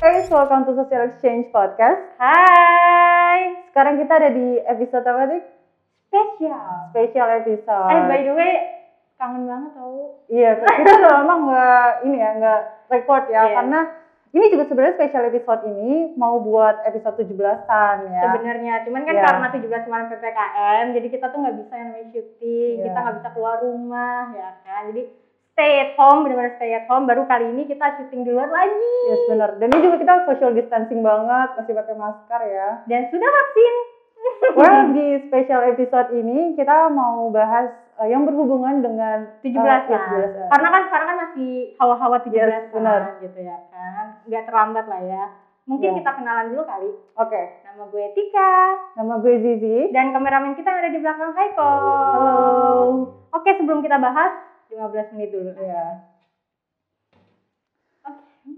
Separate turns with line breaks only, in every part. guys, welcome to Social Exchange Podcast. Hai. Sekarang kita ada di episode apa nih?
spesial.
Special episode.
Eh by the way, kangen banget tau.
Iya, kita udah lama nggak ini ya, nggak record ya,
Iya.
karena ini juga sebenarnya special episode ini mau buat episode 17-an ya.
Sebenarnya, cuman kan
Iya.
karena 17 kemarin ppkm, jadi kita tuh nggak bisa yang namanya syuting,
Iya.
kita nggak bisa keluar rumah, ya kan? Jadi stay at home, benar-benar stay at home. Baru kali ini kita syuting di luar lagi
Yes, Iya, benar. Dan ini juga kita social distancing banget, masih pakai masker ya.
dan sudah vaksin.
Well, di special episode ini kita mau bahas eh, yang berhubungan dengan eh,
17 an
iya, 17-an.
Karena kan sekarang kan masih hawa-hawa 17 an
Yes, benar.
gitu ya kan. Nggak terlambat lah ya. Mungkin
Iya.
kita kenalan dulu kali.
Oke,
Nama gue Tika
nama gue Zizi.
dan kameramen kita yang ada di belakang Haiko. Oke, sebelum kita bahas 15 menit dulu.
Iya.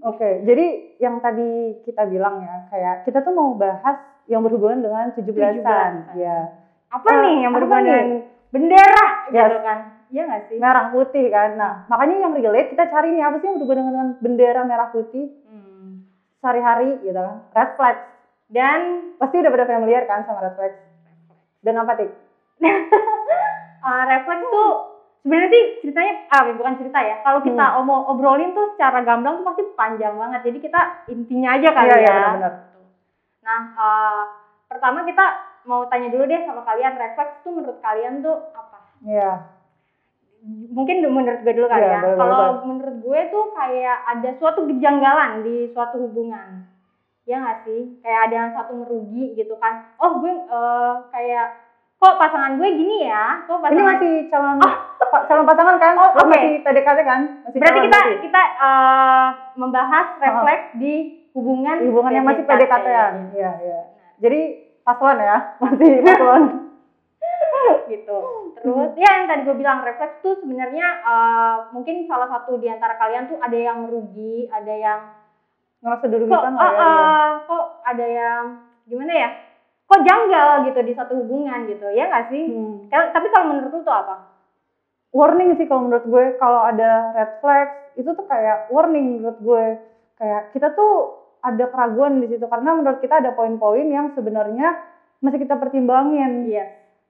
Oke, jadi yang tadi kita bilang ya, kayak kita tuh mau bahas yang berhubungan dengan 17-an.
17-an.
Iya.
Apa
Eh,
nih yang
apa
berhubungan
nih?
dengan bendera
Yes.
gitu kan? Iya nggak sih?
Merah putih kan. Nah, makanya yang relate kita cari nih apa sih yang berhubungan dengan bendera merah putih
Hmm.
sehari-hari gitu kan. Red flag.
Dan
Pasti udah pada familiar kan sama red flag. Dan apa Tik?
eh, refleks tuh sebenarnya sih ceritanya ah bukan cerita ya. Kalau kita
Hmm.
omong obrolin tuh secara gamblang tuh pasti panjang banget. Jadi kita intinya aja kali
Iya,
ya.
iya, benar-benar.
Nah, eh, pertama kita mau tanya dulu deh sama kalian refleks tuh menurut kalian tuh apa?
Iya.
mungkin menurut gue dulu kali
Iya,
ya.
boleh,
Kalau
boleh,
menurut gue tuh kayak ada suatu kejanggalan di suatu hubungan. Ya nggak sih? Kayak ada yang satu merugi gitu kan. Oh gue eh, kayak kok pasangan gue gini ya? Kok
Ini
pasangan Ah.
masih calon pa- calon pasangan kan?
Oh,
Lo
oke.
Masih PDKT kan? Masih
Berarti
calon
kita
berarti.
kita eh, membahas refleks di hubungan
hubungan yang masih PDKT-an. Iya, iya. Jadi paslon ya, masih paslon.
gitu. Terus ya yang tadi gue bilang refleks tuh sebenarnya eh, mungkin salah satu di antara kalian tuh ada yang merugi, ada yang
Ngerasa
kok
dirugikan lah
ah,
ya. iya.
ah, kok ada yang gimana ya kok janggal gitu di satu hubungan gitu ya nggak sih
Hmm.
Kal- tapi kalau menurut lu tuh apa
warning sih kalau menurut gue kalau ada red flag itu tuh kayak warning menurut gue kayak kita tuh ada keraguan di situ karena menurut kita ada poin-poin yang sebenarnya masih kita pertimbangin
iya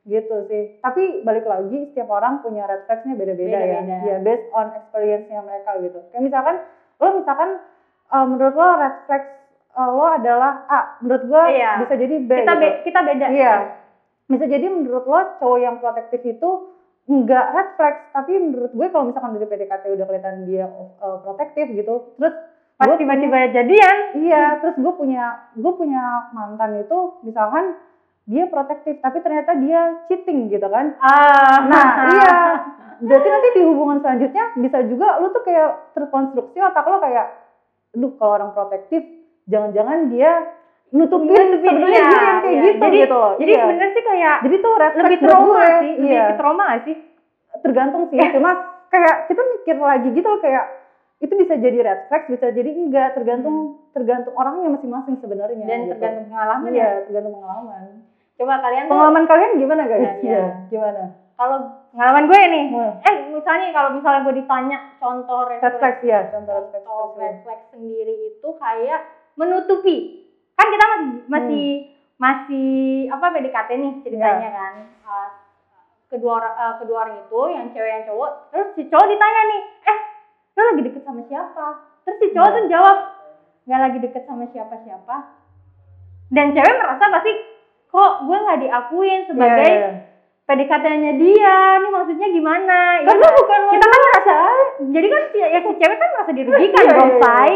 gitu sih tapi balik lagi setiap orang punya red flagsnya beda-beda ya
Beda-beda.
ya based on experience-nya mereka gitu kayak misalkan lo misalkan eh, menurut lo red flags eh, lo adalah A menurut gue
Iya.
bisa jadi B
kita
gitu.
be- kita beda
Iya. Bisa jadi menurut lo cowok yang protektif itu nggak red flag, tapi menurut gue kalau misalkan dari PDKT udah kelihatan dia uh, protektif gitu, terus
pas
gue
tiba-tiba gitu. jadian
iya, terus gue punya gue punya mantan itu misalkan dia protektif, tapi ternyata dia cheating gitu kan.
ah
Nah iya, berarti nanti di hubungan selanjutnya bisa juga lo tuh kayak terkonstruksi otak lo kayak, duh kalau orang protektif, jangan-jangan dia nutupin,
Nutupin,
sebenarnya
iya,
dia yang kayak
iya.
gitu
Jadi-
gitu loh.
jadi
iya.
sebenarnya sih kayak
Jadi tuh red flag
lebih
buat
trauma
gue.
sih
Iya,
lebih Eh. ke trauma nggak sih
tergantung sih. Cuma kayak kita mikir lagi gitu loh kayak itu bisa jadi red flag, bisa jadi enggak, tergantung tergantung orangnya masing-masing sebenarnya.
Hmm. dan
gitu.
tergantung pengalaman
Iya,
ya
tergantung pengalaman.
coba kalian tuh
Pengalaman kalian gimana guys?
Iya, iya.
gimana?
kalau pengalaman gue nih
Wah,
eh misalnya kalau misalnya gue ditanya contoh
Red
refleks
flag ya, contoh red flag.
atau refleks sendiri itu kayak menutupi kan kita masih
Hmm.
masih masih apa PDKT nih ceritanya
Iya.
kan Uh, kedua orang uh, kedua orang itu yang cewek yang cowok terus si cowok ditanya nih eh lu lagi deket sama siapa terus si cowok
Iya.
tuh jawab nggak lagi deket sama siapa siapa dan cewek merasa pasti kok gue nggak diakuin sebagai
Iya,
PDKT-nya dia ini maksudnya
iya.
gimana ya
Karena
nggak?
bukan
kita kan merasa
"Ah,
jadi kan si, ya si cewek kan merasa dirugikan
Iya,
dong
iya,
say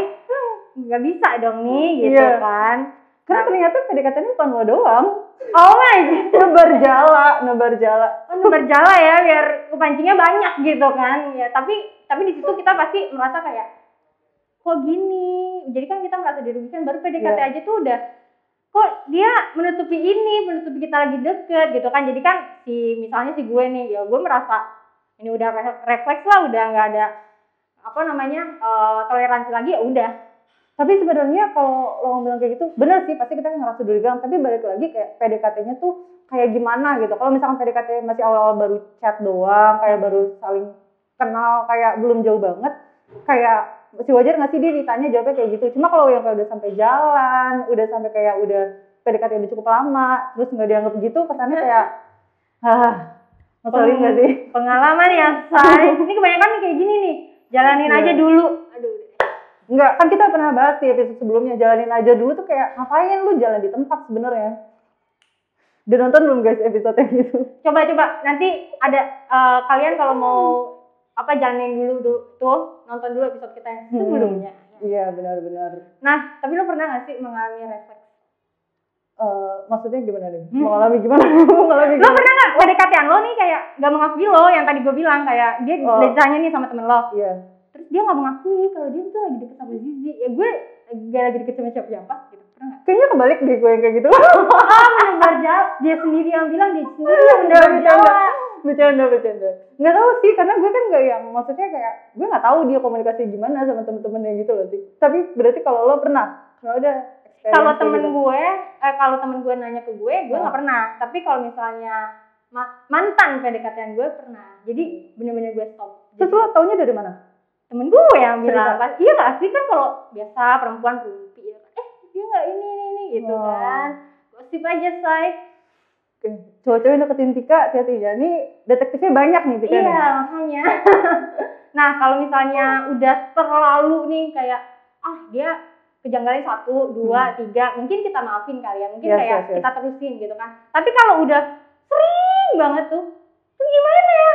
nggak bisa dong nih gitu
Iya.
kan
karena ternyata PDKT ini bukan lo doang.
oh my god
Nebar jala, nebar jala.
berjala ya biar kepancingnya banyak gitu kan ya tapi tapi di situ kita pasti merasa kayak kok gini jadi kan kita merasa dirugikan baru PDKT
Iya.
aja tuh udah kok dia menutupi ini menutupi kita lagi deket gitu kan jadi kan si misalnya si gue nih ya gue merasa ini udah re- refleks lah udah nggak ada apa namanya eh, toleransi lagi ya udah
tapi sebenarnya kalau lo bilang kayak gitu bener sih pasti kita ngerasa durigan tapi balik lagi kayak PDKT-nya tuh kayak gimana gitu kalau misalkan PDKT masih awal-awal baru chat doang kayak baru saling kenal kayak belum jauh banget kayak si wajar nggak sih dia ditanya jawabnya kayak gitu cuma kalau yang kayak udah sampai jalan udah sampai kayak udah PDKT udah cukup lama terus nggak dianggap gitu kesannya kayak ah ngeselin nggak sih
Pengalaman ya, say. ini kebanyakan nih kayak gini nih. Jalanin
Iya.
aja dulu. Aduh.
nggak kan kita pernah bahas di episode sebelumnya jalanin aja dulu tuh kayak ngapain lu jalan di tempat sebenarnya udah nonton belum guys episode yang itu
Coba coba nanti ada eh, kalian kalau mau apa jalanin dulu du- tuh nonton dulu episode kita yang
Hmm.
sebelumnya.
iya benar-benar
Nah, tapi lu pernah gak sih mengalami refleks?
Eh, maksudnya gimana nih
Hmm.
mengalami gimana mengalami
Lu
gimana
pernah gak PDKT-an lo nih kayak gak mengakui lo yang tadi gue bilang kayak dia
Oh.
ditanya nih sama temen lo.
iya
Terus dia gak mengakui kalau dia tuh lagi deket sama Zizi. Ya gue gak lagi deket sama siapa-siapa gitu. Pernah gak?
kayaknya kebalik deh gue yang kayak gitu
Ah, menebar jauh. Dia sendiri yang bilang, dia sendiri yang
Enggak,
menebar
bercanda.
jauh.
bercanda bercanda nggak tahu sih karena gue kan gak yang maksudnya kayak gue nggak tahu dia komunikasi gimana sama temen-temennya gitu loh sih tapi berarti kalau lo pernah kalau ada experience
kalau
kayak
temen
gitu.
gue eh, kalau temen gue nanya ke gue gue nggak pernah tapi kalau misalnya ma- mantan PDKT gue pernah jadi bener-bener gue stop
terus
Jadi,
lo taunya dari mana
temen gue yang
Cerita.
bilang kan iya nggak sih kan kalau biasa perempuan rumpi ya kan, eh dia nggak ini ini ini gitu
Oh.
kan gosip aja say
Oke. cowok-cowok yang deketin Tika hati-hati ya ini detektifnya banyak nih Tika nih.
iya makanya nah kalau misalnya udah terlalu nih kayak ah dia kejanggalan satu dua tiga mungkin kita maafin kali ya mungkin
Hmm. Yes,
kayak
yes, yes.
kita terusin gitu kan tapi kalau udah sering banget tuh tuh gimana ya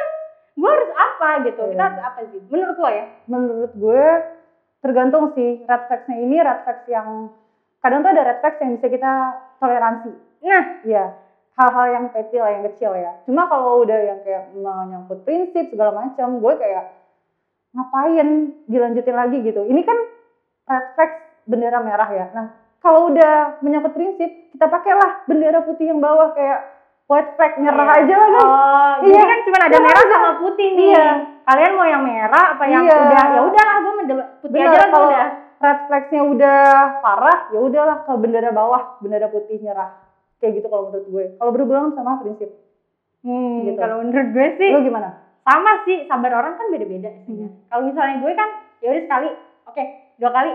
gue harus apa gitu kita
Iya.
harus apa sih menurut lo ya
menurut gue tergantung sih red flagsnya ini red flags yang kadang tuh ada red flags yang bisa kita toleransi
Nah.
iya hal-hal yang kecil lah, yang kecil ya cuma kalau udah yang kayak menyangkut prinsip segala macam gue kayak ngapain dilanjutin lagi gitu ini kan red flags bendera merah ya nah kalau udah menyangkut prinsip kita pakailah bendera putih yang bawah kayak white flag nyerah
Iya.
aja lah guys
oh
Iya.
jadi kan cuma ada
Nyerah
merah
aja.
sama putih nih
Iya.
kalian mau yang merah apa yang
Iya.
udah ya udahlah gue mendel- putih
Benar,
aja lah gue
kalau-
udah
red flagsnya udah parah ya udahlah ke bendera bawah bendera putih nyerah kayak gitu kalau menurut gue kalau berhubungan sama prinsip
hmm,
Gitu.
kalau menurut gue sih
lo gimana
sama sih sabar orang kan beda-beda sih ya.
Hmm.
Kalau misalnya gue kan ya udah sekali, oke dua kali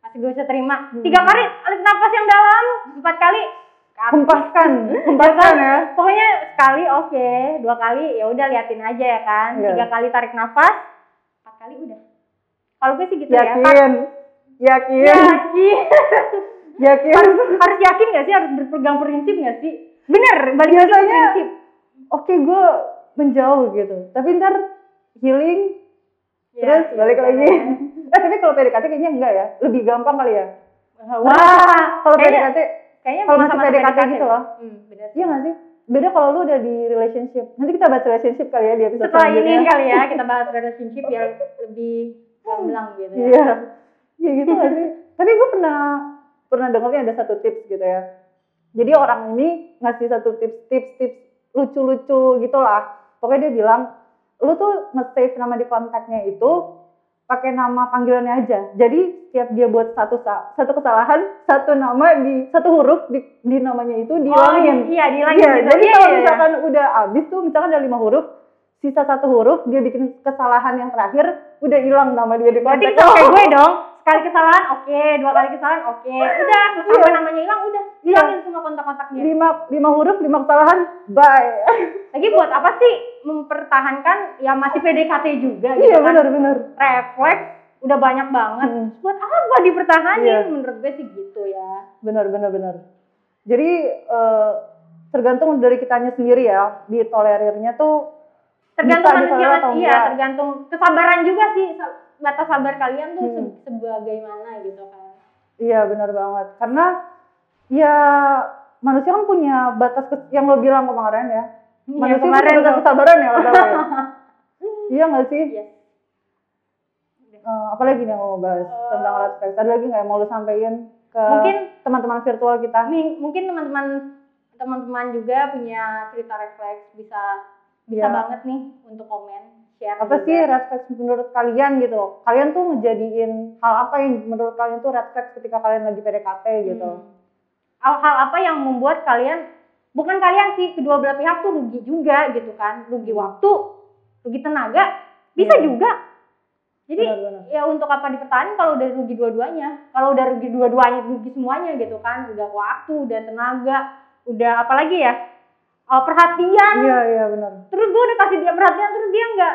masih gue bisa terima.
Hmm.
Tiga kali tarik nafas yang dalam, empat kali ke atas.
hempaskan
Hmm?
hempaskan ya
Pokoknya sekali oke, dua kali ya udah liatin aja ya kan.
Iya.
Tiga kali tarik nafas, empat kali udah. Kalau gue sih gitu ya. Har-
yakin yakin
Yakin.
yakin
harus, harus yakin gak sih? Harus berpegang prinsip gak sih? Bener, balik lagi ke
Biasanya-
prinsip.
oke gue menjauh gitu tapi ntar healing terus
Ya,
balik
ya.
lagi eh tapi kalau PDKT kayaknya enggak ya lebih gampang kali ya
Wah,
kalau
kayaknya-
PDKT
kayaknya
kalau
bukan
masih
sama-sama
PDKT gitu loh.
Hmm, bener.
iya nggak sih beda kalau lu udah di relationship nanti kita bahas relationship kali ya di episode
setelah ini
selanjutnya.
kali ya kita bahas relationship biar lebih gamblang gitu ya.
Iya. Ya gitu gak sih? Tapi gue pernah pernah dengarnya ada satu tips gitu ya. Jadi orang ini ngasih satu tips tips tips lucu-lucu gitulah. Pokoknya dia bilang lu tuh nge-save nama di kontaknya itu pakai nama panggilannya aja. Jadi setiap dia buat satu sa- satu kesalahan, satu nama di satu huruf di, di namanya itu dihilangin.
Oh, iya, dihilangin.
Iya,
gitu.
jadi
Iya,
kalau
iya, iya.
misalkan udah habis tuh, misalkan ada lima huruf, sisa satu huruf dia bikin kesalahan yang terakhir, udah hilang nama dia di Oh,
berarti
kontak.
sama kayak gue dong. Sekali kesalahan, oke. Dua kali kesalahan, oke. Udah,
Iya.
sampai namanya hilang, udah. Hilangin semua kontak-kontaknya.
lima lima huruf lima kesalahan, bye.
Lagi buat apa sih mempertahankan ya masih PDKT juga gitu
iya
kan.
benar benar.
Refleks udah banyak banget.
Hmm.
Buat apa dipertahanin?
Iya.
Menurut gue sih gitu ya.
Benar benar benar. Jadi eh, tergantung dari kitanya sendiri ya, ditolerirnya tuh
Tergantung
Bisa
manusia,
ditoleran atau
iya,
enggak.
tergantung kesabaran juga sih sa- batas sabar kalian tuh
Hmm.
se- sebagaimana gitu kan.
iya benar banget. Karena ya manusia kan punya batas kes- yang lo bilang kemarin ya.
Iya,
Manusia punya batas kesabaran ya, lo tau ya. Iya nggak sih?
Iya.
Eh, apalagi nih yang mau bahas
Eh,
tentang red flags? Ada lagi nggak yang mau lo sampein ke
Mungkin
teman-teman virtual kita?
mi- mungkin teman-teman teman-teman juga punya cerita refleks bisa bisa
Iya.
banget Iya. nih untuk komen share
apa
juga.
sih red flags menurut kalian gitu kalian tuh ngejadiin hal apa yang menurut kalian tuh red flags ketika kalian lagi PDKT gitu
Hmm. Hal- Hal apa yang membuat kalian bukan kalian sih kedua belah pihak tuh rugi juga gitu kan, rugi waktu, rugi tenaga, bisa
Iya.
juga Jadi
benar-benar.
ya untuk apa dipertahankan kalau udah rugi dua-duanya kalau udah rugi dua-duanya rugi semuanya gitu kan udah waktu udah tenaga udah apalagi ya eh, perhatian
Iya iya benar.
terus gue udah kasih dia perhatian terus dia nggak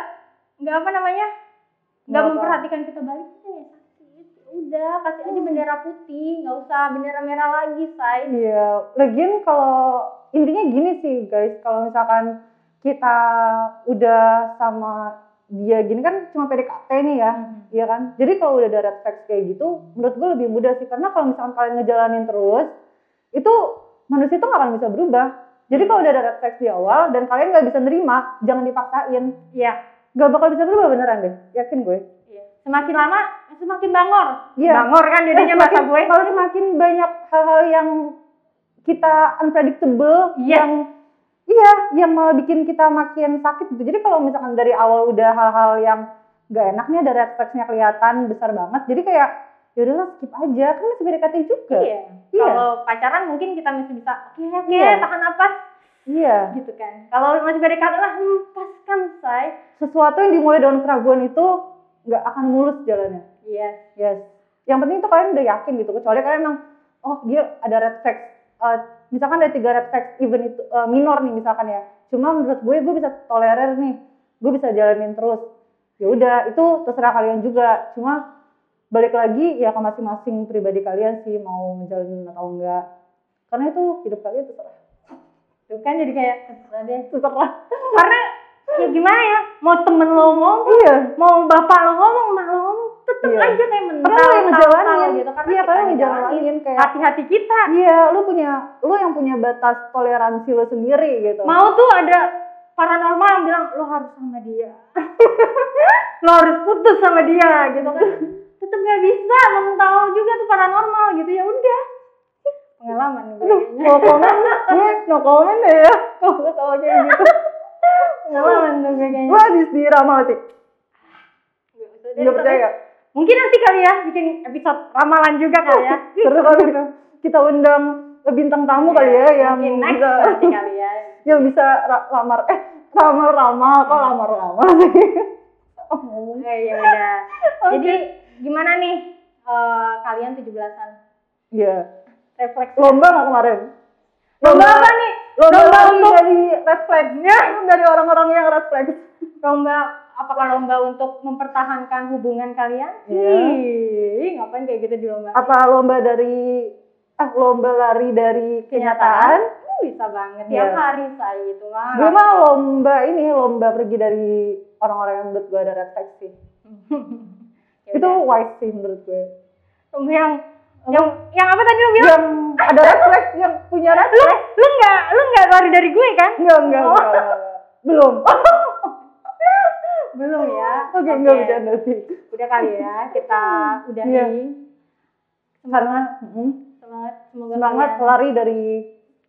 nggak apa namanya nggak
Nggak apa.
memperhatikan kita balik kita ya sakit udah kasih aja bendera putih nggak usah bendera merah lagi say
Iya. Lagian kalau intinya gini sih guys, kalau misalkan kita udah sama dia gini kan cuma PDKT nih ya. Iya kan? Jadi kalau udah ada red flags kayak gitu, menurut gue lebih mudah sih. Karena kalau misalkan kalian ngejalanin terus, itu manusia itu nggak akan bisa berubah. Jadi kalau udah ada red flags di awal dan kalian nggak bisa nerima, jangan dipaksain.
Iya.
Gak bakal bisa berubah beneran deh, yakin gue.
Iya. semakin lama semakin bangor
Iya.
bangor kan jadinya
Eh,
bahasa
semakin-
gue
Kalau semakin banyak hal-hal yang kita unpredictable,
Iya.
yang iya, yang malah bikin kita makin sakit gitu. Jadi kalau misalkan dari awal udah hal-hal yang gak enak nih ada red flags-nya kelihatan besar banget. Jadi kayak ya udahlah skip aja, kan masih PDKT juga.
iya
Iya.
kalau pacaran mungkin kita masih bisa oke oke
Iya.
tahan napas
Iya.
gitu kan kalau masih PDKT lah hmm, pas kan say
Sesuatu yang dimulai dengan keraguan itu nggak akan mulus jalannya.
iya
Yes. Yang penting itu kalian udah yakin gitu. Kecuali kalian emang, oh dia ada red flags. Eh, misalkan ada tiga red flags, even itu eh, minor nih misalkan ya. Cuma menurut gue, gue bisa tolerir nih. Gue bisa jalanin terus. Ya udah, itu terserah kalian juga. Cuma balik lagi ya ke masing-masing pribadi kalian sih mau ngejalanin atau enggak. Karena itu hidup kalian terserah.
tuh kan jadi kayak terserah deh
Terserah.
karena ya gimana ya mau temen lo ngomong
Iya.
mau bapak lo ngomong mak lo ngomong tetep
Iya.
aja kayak mental
Karena lo yang
mental,
ngejalanin.
gitu karena
Iya,
kita
karena yang
ngejalanin
ngejalanin kayak
hati-hati kita
Iya, lu punya, lu yang punya batas toleransi lu sendiri gitu.
mau tuh ada paranormal yang bilang lo harus sama dia lo harus putus sama dia gitu kan tetep gak bisa mental juga tuh paranormal gitu ya udah pengalaman gue
Aduh,
kayaknya.
no comment, gue no comment deh ya kalau gue tau kayak gitu
pengalaman tuh gue kayaknya
Gue habis diramal tik, gak percaya
mungkin nanti kali ya bikin episode ramalan juga kali ya
Seru kali itu Kita undang bintang tamu kali ya yang
Iya, mungkin next
bisa
nanti kali ya
yang bisa ra- lamar eh ramal-ramal kok lamar-ramal sih Oh,
Oke, ya udah. Jadi gimana nih eh, kalian 17-an?
Iya,
Refleks
lomba gak kemarin?
lomba apa nih?
Lomba,
Lomba
lari
untuk- Ya.
dari red flag-nya, dari orang-orang yang red flag
Lomba apakah lomba untuk mempertahankan hubungan kalian?
Iya.
Ih, ngapain kayak gitu di lomba?
Apa lomba dari, eh lomba lari dari kenyataan
Hmm, bisa banget
Iya.
tiap hari saya gitu mah.
gue mah Hmm. ah, lomba ini lomba pergi dari orang-orang yang menurut gue ada red flag sih
Ya
itu
udah.
wise sih menurut gue
lomba yang yang yang apa tadi lo bilang?
yang ada red flag yang punya red
Lu
flag
lu enggak lu enggak lari dari gue kan?
enggak enggak
Oh.
enggak, enggak, enggak. belum
Belum ya.
oke enggak bercanda sih
Udah kali ya kita udahi.
Iya. karena mm,
Semangat, semoga
semangat
kalian-
lari dari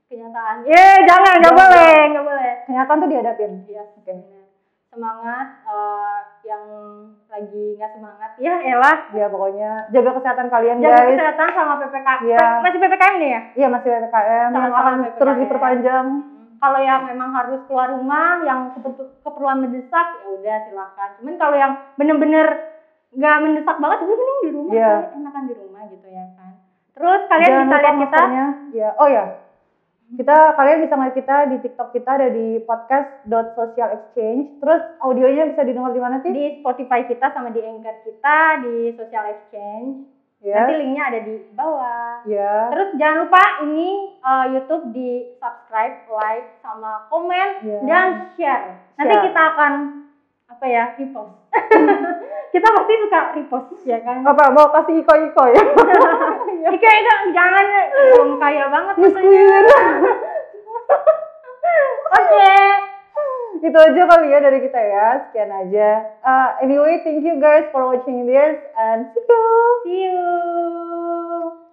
kenyataan. Iya, Eh, jangan, nggak
Jangan.
boleh, nggak boleh.
kenyataan tuh dihadapin
Iya, benar. Semangat eh, yang lagi nggak semangat ya, elah.
ya pokoknya jaga kesehatan kalian
Jaga
guys
kesehatan sama PPKM.
Iya.
Masih PPKM nih ya?
iya masih ppkm yang
Sama-sama
akan
PPKM.
terus diperpanjang
Kalau yang memang harus keluar rumah, yang keperlu- keperluan mendesak, ya udah silakan. Cuman kalau yang bener-bener nggak mendesak banget, udah mending di rumah,
Iya.
kan? enakan di rumah gitu ya kan. Terus kalian
Jangan
bisa
lupa
lihat kita,
maskernya. Ya, oh ya. Kita kalian bisa ngeliat kita di TikTok kita ada di podcast.socialexchange. Terus audionya bisa didengar di mana sih?
di Spotify kita sama di Anchor kita, di Social Exchange. Nanti
Ya.
linknya ada di bawah.
Ya.
Terus jangan lupa ini eh, YouTube di subscribe, like, sama komen
Ya.
dan share. Nanti
Share.
kita akan apa ya repost. kita pasti suka repost ya kan.
Apa mau kasih iko-iko ya?
Iya, Ika Ika jangan belum kaya banget
Miss
rasanya.
Queen.
Oke.
Itu aja kali ya dari kita ya. Sekian aja. Uh, anyway, thank you guys for watching this and see you.
See you.